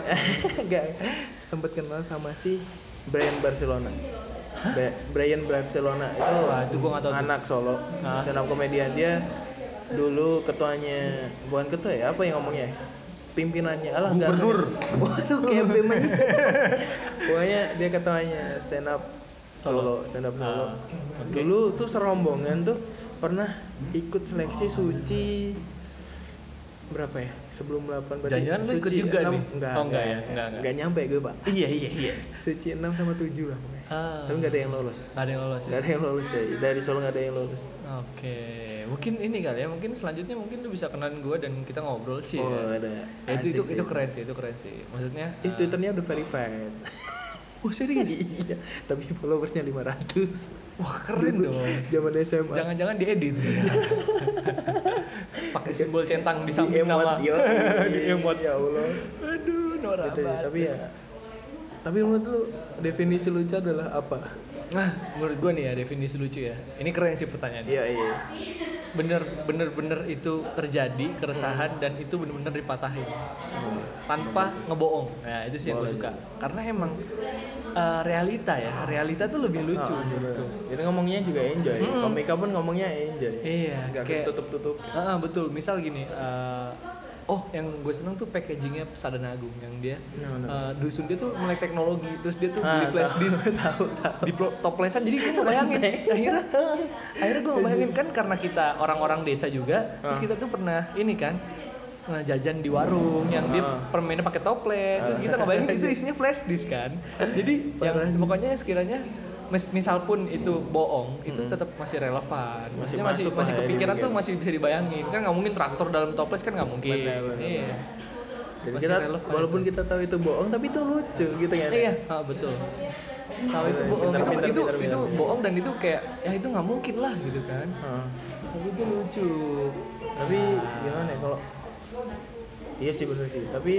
Enggak, sempet kenal sama si Brian Barcelona. Ba- Brian Barcelona itu, Wah, itu gua nggak tahu tuh. anak solo, Ah. stand up komedian dia dulu ketuanya bukan ketua ya apa yang ngomongnya pimpinannya alah enggak gubernur waduh kayak BEM aja pokoknya dia ketuanya stand up solo, stand up Ah, solo dulu tuh serombongan tuh pernah ikut seleksi suci berapa ya sebelum 8 berarti Jangan-jangan lu ikut suci juga enam- nih? enggak Oh, enggak ya? Enggak, enggak, enggak. enggak nyampe gue pak iya, iya, iya. Suci 6 sama 7 lah pokoknya. Ah. Tapi nggak ada yang lolos. Nggak ada yang lolos Nggak ya? ada yang lolos coy. Dari Solo nggak ada yang lolos. Oke, mungkin ini kali ya, mungkin selanjutnya mungkin lu bisa kenalin gue dan kita ngobrol sih. Oh ya. ada. Ya, itu Asik itu sih. itu keren sih, itu keren sih. Maksudnya? Eh eh, Twitternya udah verified. Oh serius? iya. Tapi followersnya 500. Wah keren Dulu, dong. Zaman SMA. Jangan-jangan diedit. Pakai simbol centang di samping emot, nama. yo. Di emot. Ya Allah. Aduh, norak Gitu, banget. tapi ya tapi menurut lu definisi lucu adalah apa? Nah, menurut gue nih ya definisi lucu ya. Ini keren sih pertanyaannya. Iya iya. bener bener bener itu terjadi Hmm. keresahan dan itu bener bener dipatahin Hmm. tanpa ngebohong nah itu sih yang gue suka karena emang eh, realita ya realita tuh lebih lucu Ah, menurutku. Jadi ngomongnya juga enjoy. Komika pun ngomongnya enjoy. Hmm. iya Nggak kayak tutup-tutup. Ah, ah, betul misal gini eh, oh yang gue seneng tuh packagingnya Sadana Agung yang dia Iya, bener. eh, dusun dia tuh melek teknologi terus dia tuh beli Ah, flash tahu, disk tahu, tahu. di plo- toplesan jadi gue ngebayangin akhirnya akhirnya gue ngebayangin kan karena kita orang-orang desa juga terus Iya. Ah. kita tuh pernah ini kan eh, jajan di warung yang dia Ah. permennya pakai toples terus kita ngebayangin itu isinya flash disk kan jadi yang pokoknya sekiranya mis- misal pun itu bohong itu tetap masih relevan Hmm. Masih masih masih, masuk masih lah ya kepikiran dibikin. tuh masih bisa dibayangin kan nggak mungkin traktor dalam toples kan nggak mungkin Benar, benar, iya Jadi Masih kita relevan walaupun kita tahu itu bohong tapi itu lucu gitu kan. iya ah, betul kalau itu Pintar, bohong itu, pintar, itu, pintar, itu pintar. bohong dan itu kayak ya itu nggak mungkin lah gitu kan Heeh. tapi itu lucu Ah, Tapi gimana ya kalau Iya sih bener sih, tapi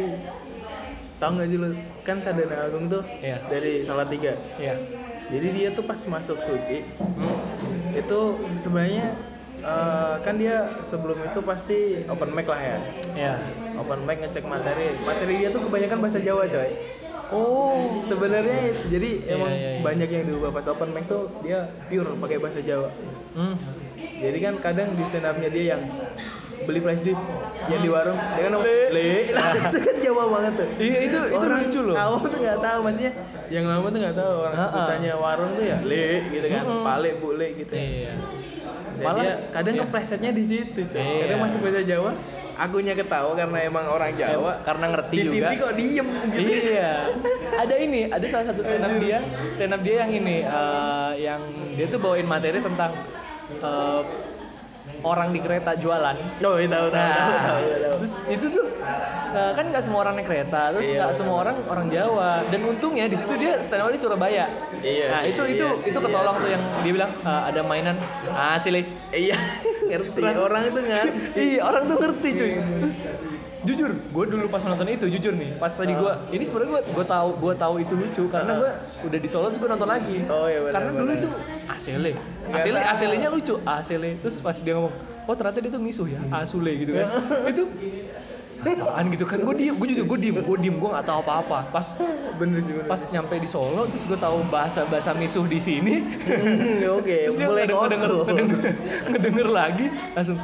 tau gak sih lu, kan Sadana Agung tuh Iya. dari Salatiga ya Jadi dia tuh pas masuk suci, Hmm? itu sebenarnya eh, kan dia sebelum itu pasti open mic lah ya ya Open mic ngecek materi, materi dia tuh kebanyakan bahasa Jawa coy Oh. Sebenarnya jadi Iya, emang iya, iya. banyak yang diubah pas open mic tuh dia pure pakai bahasa Jawa. Hmm. Jadi kan kadang di stand up-nya dia yang beli flash disk yang di warung dia kan le, le. Nah, itu kan Jawa banget tuh. Iya, itu itu orang lucu loh. Awam tuh nggak tahu maksudnya. Yang lama tuh nggak tahu orang Ha-ha. sebutannya warung tuh ya le gitu kan, Mm-mm. pale bu le gitu. Iya. Dan Malah- dia kadang iya. keplesetnya di situ, coy. Iya. Kadang masuk bahasa Jawa, akunya ketawa karena emang orang Jawa. Karena ngerti Di TV juga. kok diem gitu. Iya. Ada ini, ada salah satu stand up dia, stand up dia yang ini, eh, yang dia tuh bawain materi tentang eh, orang di kereta jualan. Oh, iya tahu tahu tahu Nah, tahu tahu. terus itu tuh eh, kan nggak semua orang naik kereta, terus Iya, nggak benar. semua orang orang Jawa. Dan untungnya di situ dia stand up di Surabaya. Iya Nah sih, itu iya itu sih, itu iya ketolong sih. tuh yang dia bilang "Eh, ada mainan, ah silih. Iya, ngerti. Orang itu ngerti. Iya orang tuh ngerti cuy. Terus, jujur, gue dulu pas nonton itu jujur nih, pas tadi Ah. gue, ini sebenarnya gue gue tahu gue tahu itu lucu karena gue udah di Solo terus gue nonton lagi. Oh, iya, benar, Karena dulu benar. Iya, kan? itu asele, asele, aselenya lucu, asele. Terus pas dia ngomong, oh ternyata dia tuh misuh ya, asule gitu kan. itu apaan gitu kan? Gue diem, gue juga gue diem, gue diem, gue nggak tahu apa-apa. Pas Bener sih bener. pas nyampe di Solo terus gue tahu bahasa bahasa misuh di sini Hmm, Oke, Terus dia mulai ngedenger, ngedenger, kotor. ngedenger, ngedenger lagi langsung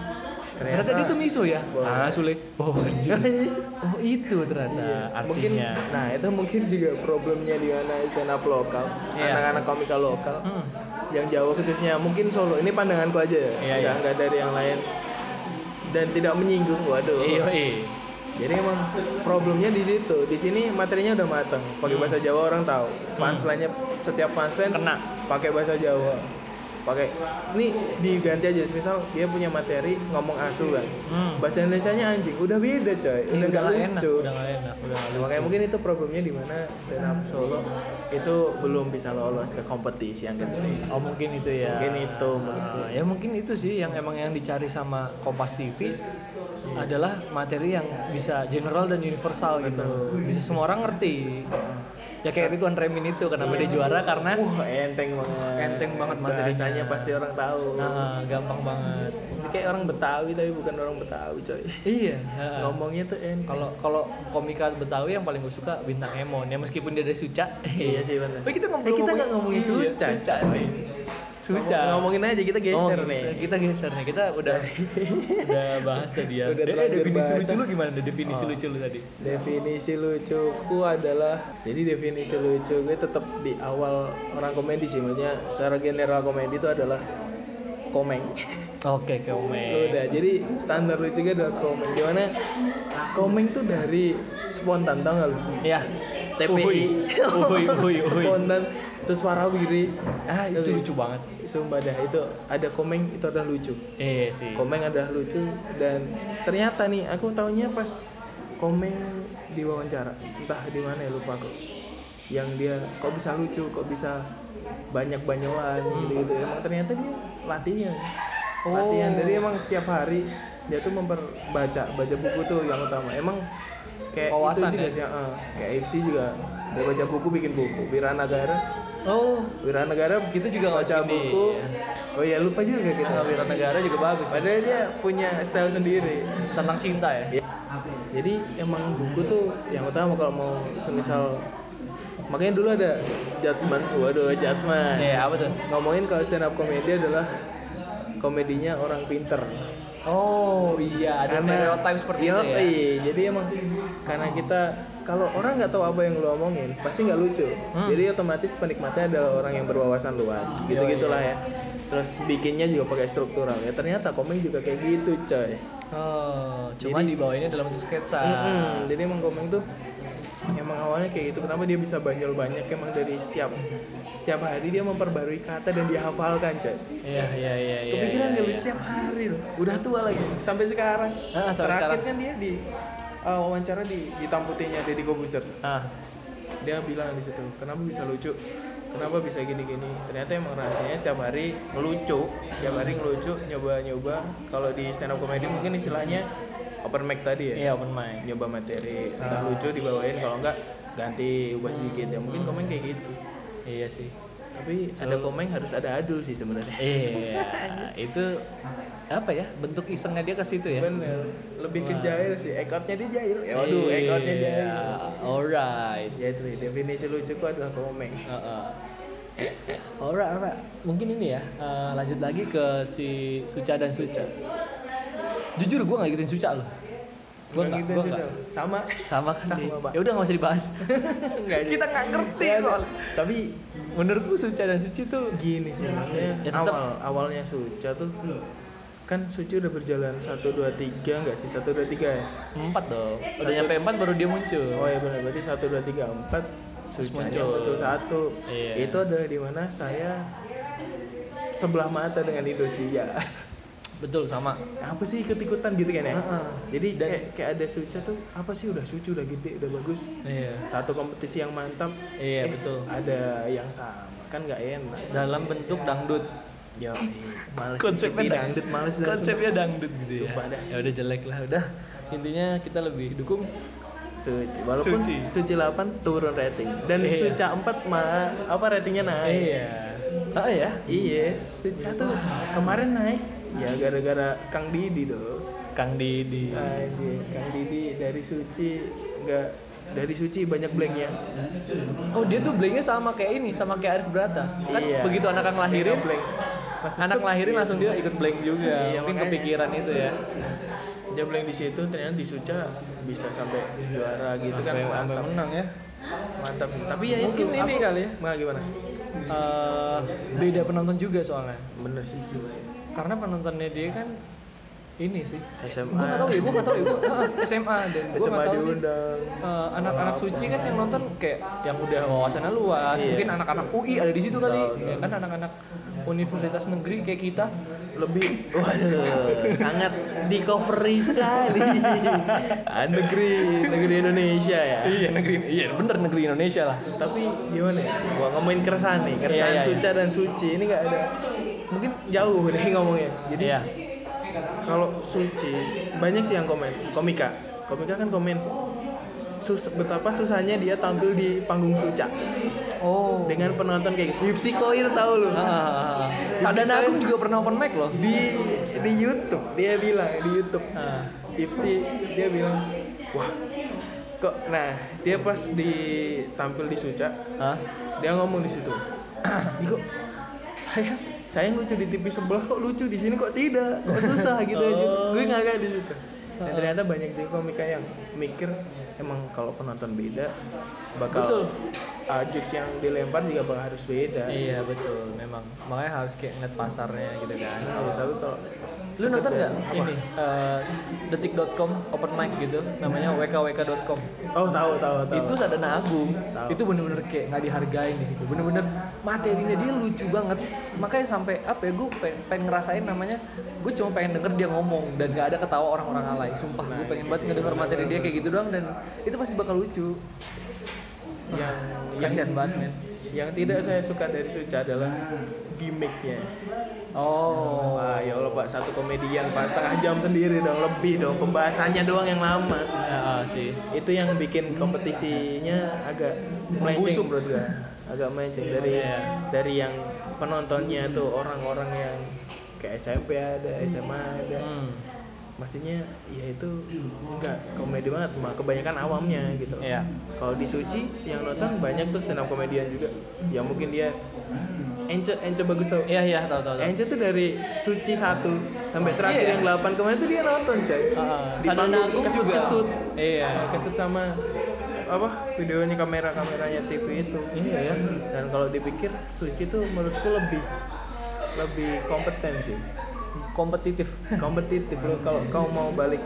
ternyata, dia tuh miso ya Bawa. ah Sule bawa anjing oh itu ternyata mungkin artinya nah itu mungkin juga problemnya di mana stand up lokal Iya. anak-anak komika lokal Hmm. yang Jawa khususnya mungkin Solo ini pandanganku aja ya Iya, nggak iya. nggak dari yang lain dan tidak menyinggung waduh iya iya jadi emang problemnya di situ di sini materinya udah matang pakai bahasa Jawa orang tahu punchline-nya setiap Hmm. punchline Kena. pakai bahasa Jawa pakai ini diganti aja misal dia punya materi ngomong asu kan Hmm. bahasa Indonesia nya anjing udah beda coy Ini udah nggak nggak enak lucu udah nggak enak udah nggak Nah, lucu. makanya mungkin itu problemnya di mana stand up solo itu belum bisa lolos ke kompetisi yang gede. oh mungkin itu ya Mungkin itu, mungkin. Ah, ya mungkin itu sih yang emang yang dicari sama Kompas TV adalah materi yang bisa general dan universal gitu bisa semua orang ngerti ya kayak Ridwan Remin itu kenapa dia juara karena Wah, enteng banget. Enteng banget materinya. Bahasanya pasti orang tahu. ah, gampang banget Ini kayak orang Betawi tapi bukan orang Betawi, coy. Iya. heeh. Ngomongnya tuh enteng. Kalau kalau komika Betawi yang paling gue suka Bintang Emon ya meskipun dia dari Suca. Iya sih benar. Tapi kita ngomong Eh, kita nggak ngomongin Suca, Suca nih. Suca. Ngomong- ngomongin aja kita geser Ngomongin nih. Kita, kita geser nih. Kita udah udah bahas tadi ya. Udah Eh, terlanjur definisi bahas. lucu lu gimana? Deh, Definisi Oh. lucu lu tadi. Definisi lucuku adalah jadi definisi lucu gue tetap di awal orang komedi sih maksudnya secara general komedi itu adalah komeng. Oke, komik. Udah, jadi standar lucu gue adalah komeng. Gimana? Komeng tuh dari spontan tau gak lu? Iya. Uhuy. TPI. Uhuy, uhuy, uhuy. spontan terus warawiri. Ah, itu Terus- lucu banget. Sumpah dah itu ada komeng itu adalah lucu. Iya sih. Komeng adalah lucu dan ternyata nih aku taunya pas komeng di wawancara entah di mana ya lupa aku yang dia kok bisa lucu kok bisa banyak banyolan Hmm. gitu gitu emang ternyata dia latihan Oh. latihan dari emang setiap hari dia tuh memperbaca baca buku tuh yang utama emang kayak Wawasan itu juga ya? sih eh, kayak FC juga dia baca buku bikin buku Wiranagara Oh, Wiranagara Kita juga baca ngasuh ini, buku iya. oh ya lupa juga kita Nah, Wiranegara juga bagus. ya. Padahal dia punya style sendiri. Tentang cinta ya. Jadi emang buku tuh yang utama kalau mau semisal makanya dulu ada judgement, waduh judgement. Iya, apa tuh? Ngomongin kalau stand up komedi adalah komedinya orang pinter. Oh, iya ada stereotip seperti itu ya. Yoi, jadi emang karena kita kalau orang nggak tahu apa yang lu omongin pasti nggak lucu. Hmm. Jadi otomatis penikmatnya adalah orang yang berwawasan luas, gitu gitulah ya. Terus bikinnya juga pakai struktural. Ya ternyata komedi juga kayak gitu, coy. Oh, cuman di bawah ini dalam bentuk sketsa. Mm-mm, Jadi emang komeng tuh emang awalnya kayak gitu. Kenapa dia bisa banjol banyak emang dari setiap setiap hari dia memperbarui kata dan dia hafalkan coy. Iya, iya, iya, iya. Kepikiran iya, gak lu iya. setiap hari loh. Udah tua lagi sampai sekarang. Ah, sampai Terakhir sekarang. kan dia di uh, wawancara di hitam putihnya Deddy Kobuzer. Ah, Dia bilang di situ, kenapa bisa lucu? Kenapa bisa gini-gini? Ternyata emang rahasianya setiap hari ngelucu, setiap hari ngelucu, nyoba-nyoba. Kalau di stand up comedy mungkin istilahnya open mic tadi ya iya open mic. nyoba materi Ah. entah lucu dibawain kalau enggak ganti ubah sedikit ya mungkin komen kayak gitu Iya sih. Tapi ada komeng harus ada adul sih sebenarnya. Iya, itu apa ya bentuk isengnya dia ke situ ya. Bener. Lebih ke jahil sih. Ekotnya dia jahil. Ya waduh, Iya, ekotnya jahil. Alright. Ya itu definisi lucuku adalah komeng. Heeh. Alright, alright. Mungkin ini ya, eh, lanjut lagi ke si Suca dan Suca. Jujur gue gak ngikutin Suca loh. Gue Bukan gak, gitu gue sih, gak. Sel. Sama. Sama kan Sama, sih. Pak. Ya udah gak usah dibahas. Nggak ada. Kita nggak ngerti Nggak ada. soalnya. Tapi Menurut gue Suca dan Suci tuh gini sih maksudnya Ya, tetap. awal awalnya Suca tuh kan Suci udah berjalan 1 2 3 enggak sih? 1 2 3 ya. empat dong. iya. Udah nyampe empat baru dia muncul. Oh ya benar berarti 1 2 3 4 Terus Sucanya muncul. betul satu. Iya. Itu adalah di mana saya sebelah mata dengan Indonesia. Betul sama. apa sih ikut-ikutan gitu kan ya? Heeh. Jadi kayak, kayak ada Suca tuh apa sih udah sucu udah gede udah bagus. Iya. Satu kompetisi yang mantap. Eh, Iya, betul. Ada yang sama kan nggak enak. Dalam bentuk dangdut. Ya males. Konsepnya Ih, dang- dangdut males dah. Konsepnya dangdut gitu ya. Sumpah dah. Ya udah jelek lah udah. Intinya kita lebih dukung Suci. Walaupun Suci. Suci. 8 turun rating dan Iya. Suca 4 mah apa ratingnya naik. Iya. Ah ya. Iya, Suca tuh kemarin naik ya gara-gara Kang Didi dong. Kang Didi. Anjir, Kang Didi dari Suci nggak dari Suci banyak ya. blanknya. Oh dia tuh blanknya sama kayak ini, sama kayak Arif Brata. Kan Iya. begitu anak yang lahirin, Nggak blank. Pas anak sesek, lahirin iya. langsung dia ikut blank juga. Iya, Mungkin makanya. kepikiran itu ya. dia blank di situ ternyata di Suca bisa sampai juara gitu kan Sampai- sampai mantap menang ya. mantap tapi ya Mungkin itu ini kali ya. Nggak, gimana Eh, beda penonton juga soalnya. bener sih Karena penontonnya dia kan ini sih. SMA. Gue gak tau ya, gue gak tau ya. Gua- ah, SMA dan gue SMA gak tau sih. diundang eh, anak-anak suci kan yang nonton kayak yang udah wawasannya luas Iya. mungkin anak-anak UI ada di situ kali Tahu, tahu. ya kan anak-anak universitas negeri kayak kita lebih waduh sangat di covery sekali Ah, negeri negeri Indonesia ya iya negeri iya bener negeri Indonesia lah tapi gimana ya gua ngomongin keresahan nih keresahan Iya, iya, Suca dan Suci ini nggak ada mungkin jauh nih ngomongnya jadi iya kalau Suci banyak sih yang komen komika komika kan komen sus betapa susahnya dia tampil di panggung Suca oh dengan penonton kayak Hipsi Koir tahu lu ah, Sadana aku juga pernah open mic loh di di YouTube dia bilang di YouTube Ah. Hipsi dia bilang wah kok nah dia pas di tampil di Suca Hah? dia ngomong di situ "Ih, kok saya saya yang lucu di TV sebelah kok lucu di sini kok tidak kok susah gitu aja Oh. gue ngakak di situ dan ternyata banyak juga komika yang mikir emang kalau penonton beda Betul. bakal uh, jokes yang dilempar juga bakal harus beda iya betul memang makanya harus kayak ngeliat pasarnya gitu kan Nah, tapi kalau lu nonton sekedar- nggak apa? ini eh, detik.com open mic gitu namanya wkwk.com oh tahu tahu tahu itu sadana agung Tahu. itu bener-bener kayak nggak dihargain di situ bener-bener materinya dia lucu banget makanya sampai apa ya gue pengen, pengen ngerasain namanya gue cuma pengen denger dia ngomong dan nggak ada ketawa orang-orang alay sumpah Nah, gue pengen iya banget ngedenger materi dia kayak gitu doang dan itu pasti bakal lucu yang kasihan banget men yang tidak saya suka dari Suca adalah gimmicknya oh Wah, ya Allah Pak, satu komedian pas setengah jam sendiri dong, lebih dong pembahasannya doang yang lama. ya sih Itu yang bikin kompetisinya agak Membusuk. melenceng menurut gua. Agak melenceng dari Iya. dari yang penontonnya tuh orang-orang yang kayak SMP ada, SMA ada. hmm. Maksudnya ya itu enggak komedi banget, mah kebanyakan awamnya gitu. Iya. Kalau di Suci yang nonton banyak tuh stand up komedian juga. Ya mungkin dia Ence, Ence bagus tau. iya iya tahu tahu tahu. Ence tuh dari suci satu sampai terakhir Iya. yang 8 kemarin tuh dia nonton coy. Ah, Di Sadana panggung Agung kesut juga. kesut. Iya. Kesut sama apa videonya kamera kameranya TV itu. Iya, ya. Dan kalau dipikir suci tuh menurutku lebih lebih kompeten sih. kompetitif Kompetitif loh kalau kau mau balik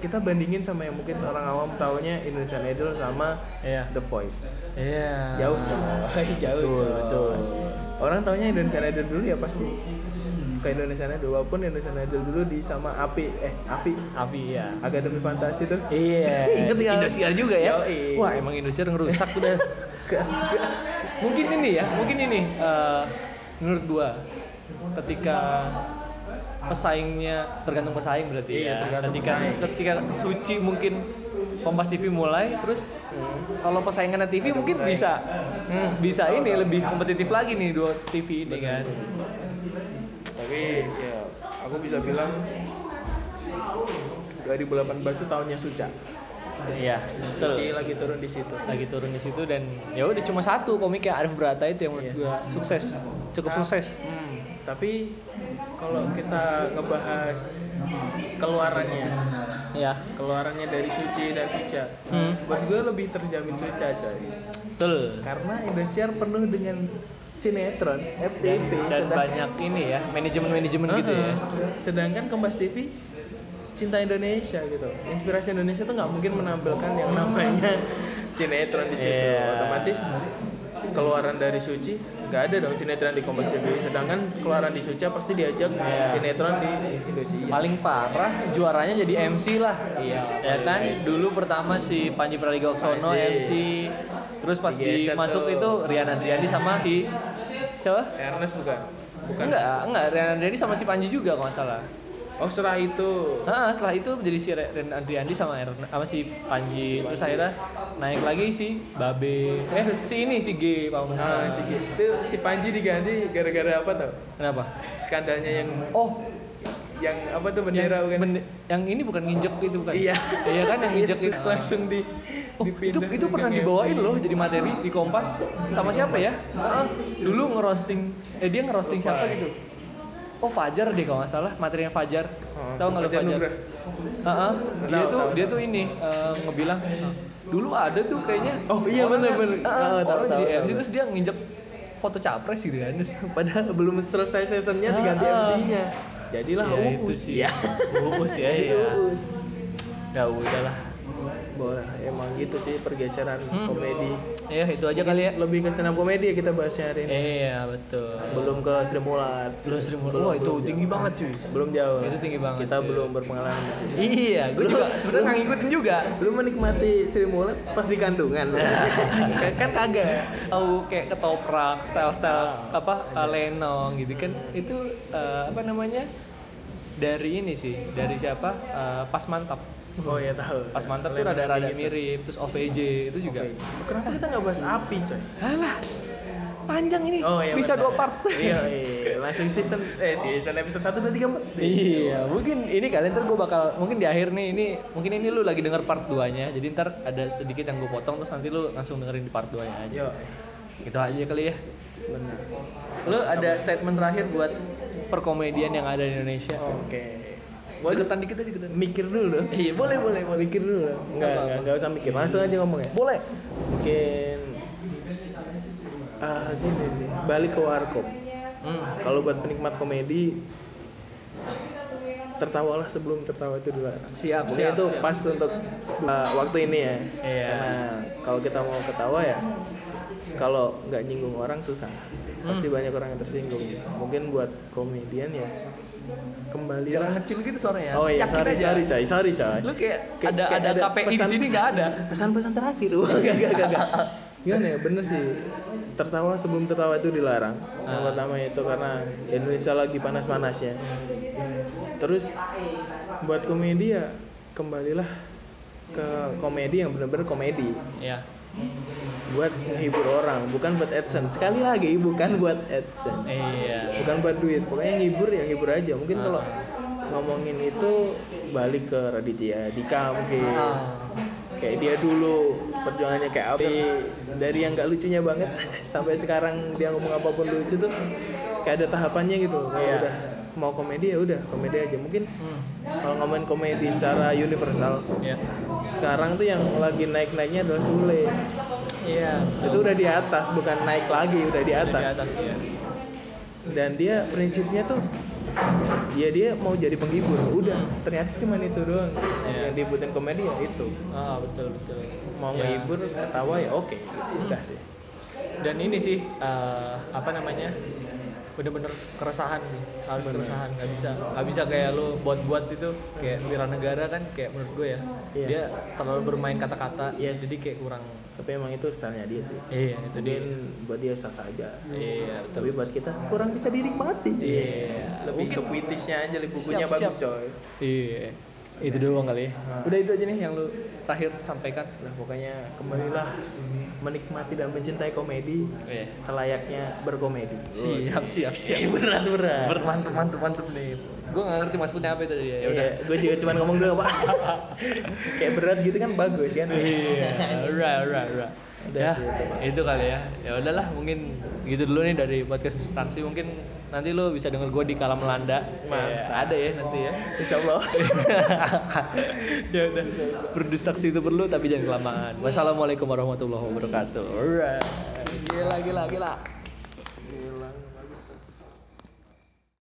kita bandingin sama yang mungkin orang awam taunya Indonesian Idol sama iya The Voice. iya Jauh coy, jauh Betul, coy. betul. Orang taunya Indonesian Idol dulu ya pasti ke Indonesian Idol walaupun Indonesian Idol dulu di sama Api eh Avi Avi ya Akademi Fantasi tuh. Iya, Ingat nggak? Indosiar juga ya. Yoi. Wah, emang Indosiar ngerusak udah. mungkin ini ya, mungkin ini eh, menurut gua ketika pesaingnya tergantung pesaing berarti Iya, ya. tergantung Ketika pesaing. ketika Suci mungkin Kompas TV mulai terus Hmm. kalau persaingannya TV mungkin bisa bisa ini lebih kompetitif lagi nih dua TV ini kan. tapi ya aku bisa bilang 2018 itu tahunnya Suca Iya, betul. Suci lagi turun di situ Lagi turun di situ dan ya udah cuma satu komik Arif Brata itu yang menurut gua sukses. Cukup sukses. Hmm, tapi kalau kita ngebahas keluarannya Ya. keluarannya dari Suci dan Suca Hmm. buat gue lebih terjamin Suca coy Betul. karena Indosiar penuh dengan sinetron FTP Dan sedang- banyak ini ya, manajemen-manajemen gitu ya. Uh-uh. Sedangkan Kompas TV cinta Indonesia gitu. Inspirasi Indonesia tuh nggak mungkin menampilkan yang namanya sinetron di situ. Iya. Otomatis keluaran dari Suci nggak ada dong sinetron di Kompas TV. Sedangkan keluaran di Suca pasti diajak sinetron di Indonesia. Paling parah juaranya jadi MC lah. Iya. Ya kan? Dulu pertama si Panji Pragiwaksono Panji. MC. Terus pas Digeser dimasuk tuh. itu Rian Adriani sama di siapa? Ernest bukan? Bukan. Enggak, enggak Rian Adriani sama si Panji juga kalau nggak salah. Oh setelah itu. Nah, setelah itu jadi si Ren Adriandi sama Ern, sama si Panji terus akhirnya naik lagi si Babe eh si ini si G Pak Ah, si, itu si Panji diganti gara-gara apa tau? Kenapa? Skandalnya yang Oh, yang apa tuh yang, bendera bukan? bende- yang ini bukan nginjek itu bukan? Iya. Iya kan yang nginjek Itu itu. langsung di Oh, itu dipindah itu ke pernah GMC. dibawain loh jadi materi di Kompas sama siapa ya? Ah, dulu ngerosting eh dia ngerosting siapa gitu? Oh Fajar deh kalau nggak salah materinya Fajar. Heeh, Tahu nggak lo Hmm, Fajar Fajar? Nugrah. Heeh, dia Tahu, tuh tahu, dia tahu. tuh ini eh, ngebilang dulu ada tuh kayaknya Oh, iya, orang bener, yang- bener. Heeh, Heeh, tahu, orang tahu, jadi tahu, MC tahu. terus dia nginjek foto capres gitu kan. Padahal belum selesai seasonnya Ah, diganti ah. MC-nya. Jadilah Ya, itu Uus. sih. Ya. Uus ya, Jadi iya. Uus. Ya udahlah. Boleh, emang gitu sih pergeseran Hmm. komedi. Ya itu aja kali ya. Lebih ke stand up komedi ya kita bahasnya hari ini. Iya, betul. Belum ke Sri Mulat. Belum sering Wah, itu belum tinggi banget cuy. Belum jauh. Itu tinggi banget, Kita cuy. belum berpengalaman di sini. Iya, gue Lu- juga sebenarnya lu- nggak ngikutin juga. Lu menikmati Sri Mulat pas di kandungan. lu. kan kagak. Tahu kayak ketoprak, style-style Ah, apa eh, iya. lenong gitu kan. Itu eh, apa namanya? Dari ini sih, dari siapa? Eh, pas mantap. Oh ya tahu. Pas mantap tuh rada-rada mirip, terus Iya. OVJ itu juga. Kenapa kita nggak bahas api, coy? Alah. Panjang ini. bisa Oh, iya, benar. dua part. iya, iya. Langsung season eh season episode 1 2 3 4. Iya, mungkin ini kalian ntar gue bakal mungkin di akhir nih ini mungkin ini lu lagi denger part 2-nya. Jadi ntar ada sedikit yang gue potong terus nanti lu langsung dengerin di part 2-nya aja. Yo. Gitu aja kali ya. Benar. Lu ada statement terakhir buat perkomedian yang ada di Indonesia? Oke. Boleh deketan dikit aja deketan. Mikir dulu. Iya, boleh boleh boleh. Mikir dulu. Enggak, Apa-apa. enggak, enggak usah mikir. Langsung aja ngomong ya. Boleh. Mungkin ah gini sih. Balik ke warkop. Hmm. Kalau buat penikmat komedi tertawalah sebelum tertawa itu dilarang. Siap, Mungkin siap. itu pas untuk uh, waktu ini ya. Iya. Karena kalau kita mau ketawa ya, kalau nggak nyinggung orang susah. Hmm. Pasti banyak orang yang tersinggung. Mungkin buat komedian ya Jangan kembalilah. kecil gitu suaranya. Oh iya, Yakin sorry, aja. sorry coy, sorry coy. Lu kayak, Kayak- ada kayak ada, KPI di sini nggak ada. Pesan-pesan terakhir. Wah, Enggak, enggak, enggak, enggak. Oh, iya. Gimana ya, bener sih. Tertawa sebelum tertawa itu dilarang. Yang pertama itu karena Indonesia lagi panas-panasnya. Hmm. Terus buat komedi ya kembalilah ke komedi yang bener-bener komedi Iya. buat menghibur orang bukan buat adsense sekali lagi bukan buat adsense Iya. bukan buat duit pokoknya ngibur ya ngibur aja mungkin kalau ngomongin itu balik ke Raditya Dika mungkin Ah. kayak dia dulu perjuangannya kayak apa dari yang nggak lucunya banget sampai sekarang dia ngomong apapun lucu tuh kayak ada tahapannya gitu kalau udah mau komedi ya udah komedi aja mungkin kalau ngomongin komedi secara universal Hmm. Iya. sekarang tuh yang lagi naik-naiknya adalah Sule Iya. itu udah di atas bukan naik lagi udah di Di atas atas iya. dan dia prinsipnya tuh ya dia mau jadi penghibur udah ternyata cuma itu doang yang dibutuhin komedi ya itu Ah, betul betul. mau Iya. ngehibur ketawa ya oke udah sih dan ini sih eh, apa namanya bener-bener keresahan sih harus keresahan nggak bisa nggak bisa kayak lu buat-buat itu kayak Wiranegara kan kayak menurut gue ya Iya. dia terlalu bermain kata-kata Yes. jadi kayak kurang tapi emang itu stylenya dia sih iya itu dia kemudian buat dia sah saja iya tapi betul buat kita kurang bisa dinikmati Iya. lebih ke puitisnya aja li- bukunya Siap, bagus coy iya Itu doang kali ya. Udah itu aja nih yang lu terakhir sampaikan. Lah Nah, pokoknya kembalilah menikmati dan mencintai komedi Iya. selayaknya berkomedi. Siap, siap, siap. berat berat. Ber- mantep, mantep, mantep nih. Gue gak ngerti maksudnya apa itu tadi ya. Ya udah. gue Iya, juga cuma ngomong dulu pak. Kayak berat gitu kan bagus kan. Iya. Alright, alright, alright. Udah Ya, sih, itu, Pak. itu kali ya. Ya udahlah, mungkin gitu dulu nih dari podcast distraksi. Mungkin nanti lo bisa denger gue di Kala Melanda. Ya, ada ya nanti ya. Insya Allah. ya udah. Berdistraksi itu perlu tapi jangan kelamaan. Wassalamualaikum warahmatullahi wabarakatuh. Alright. Gila, gila, gila. Hilang.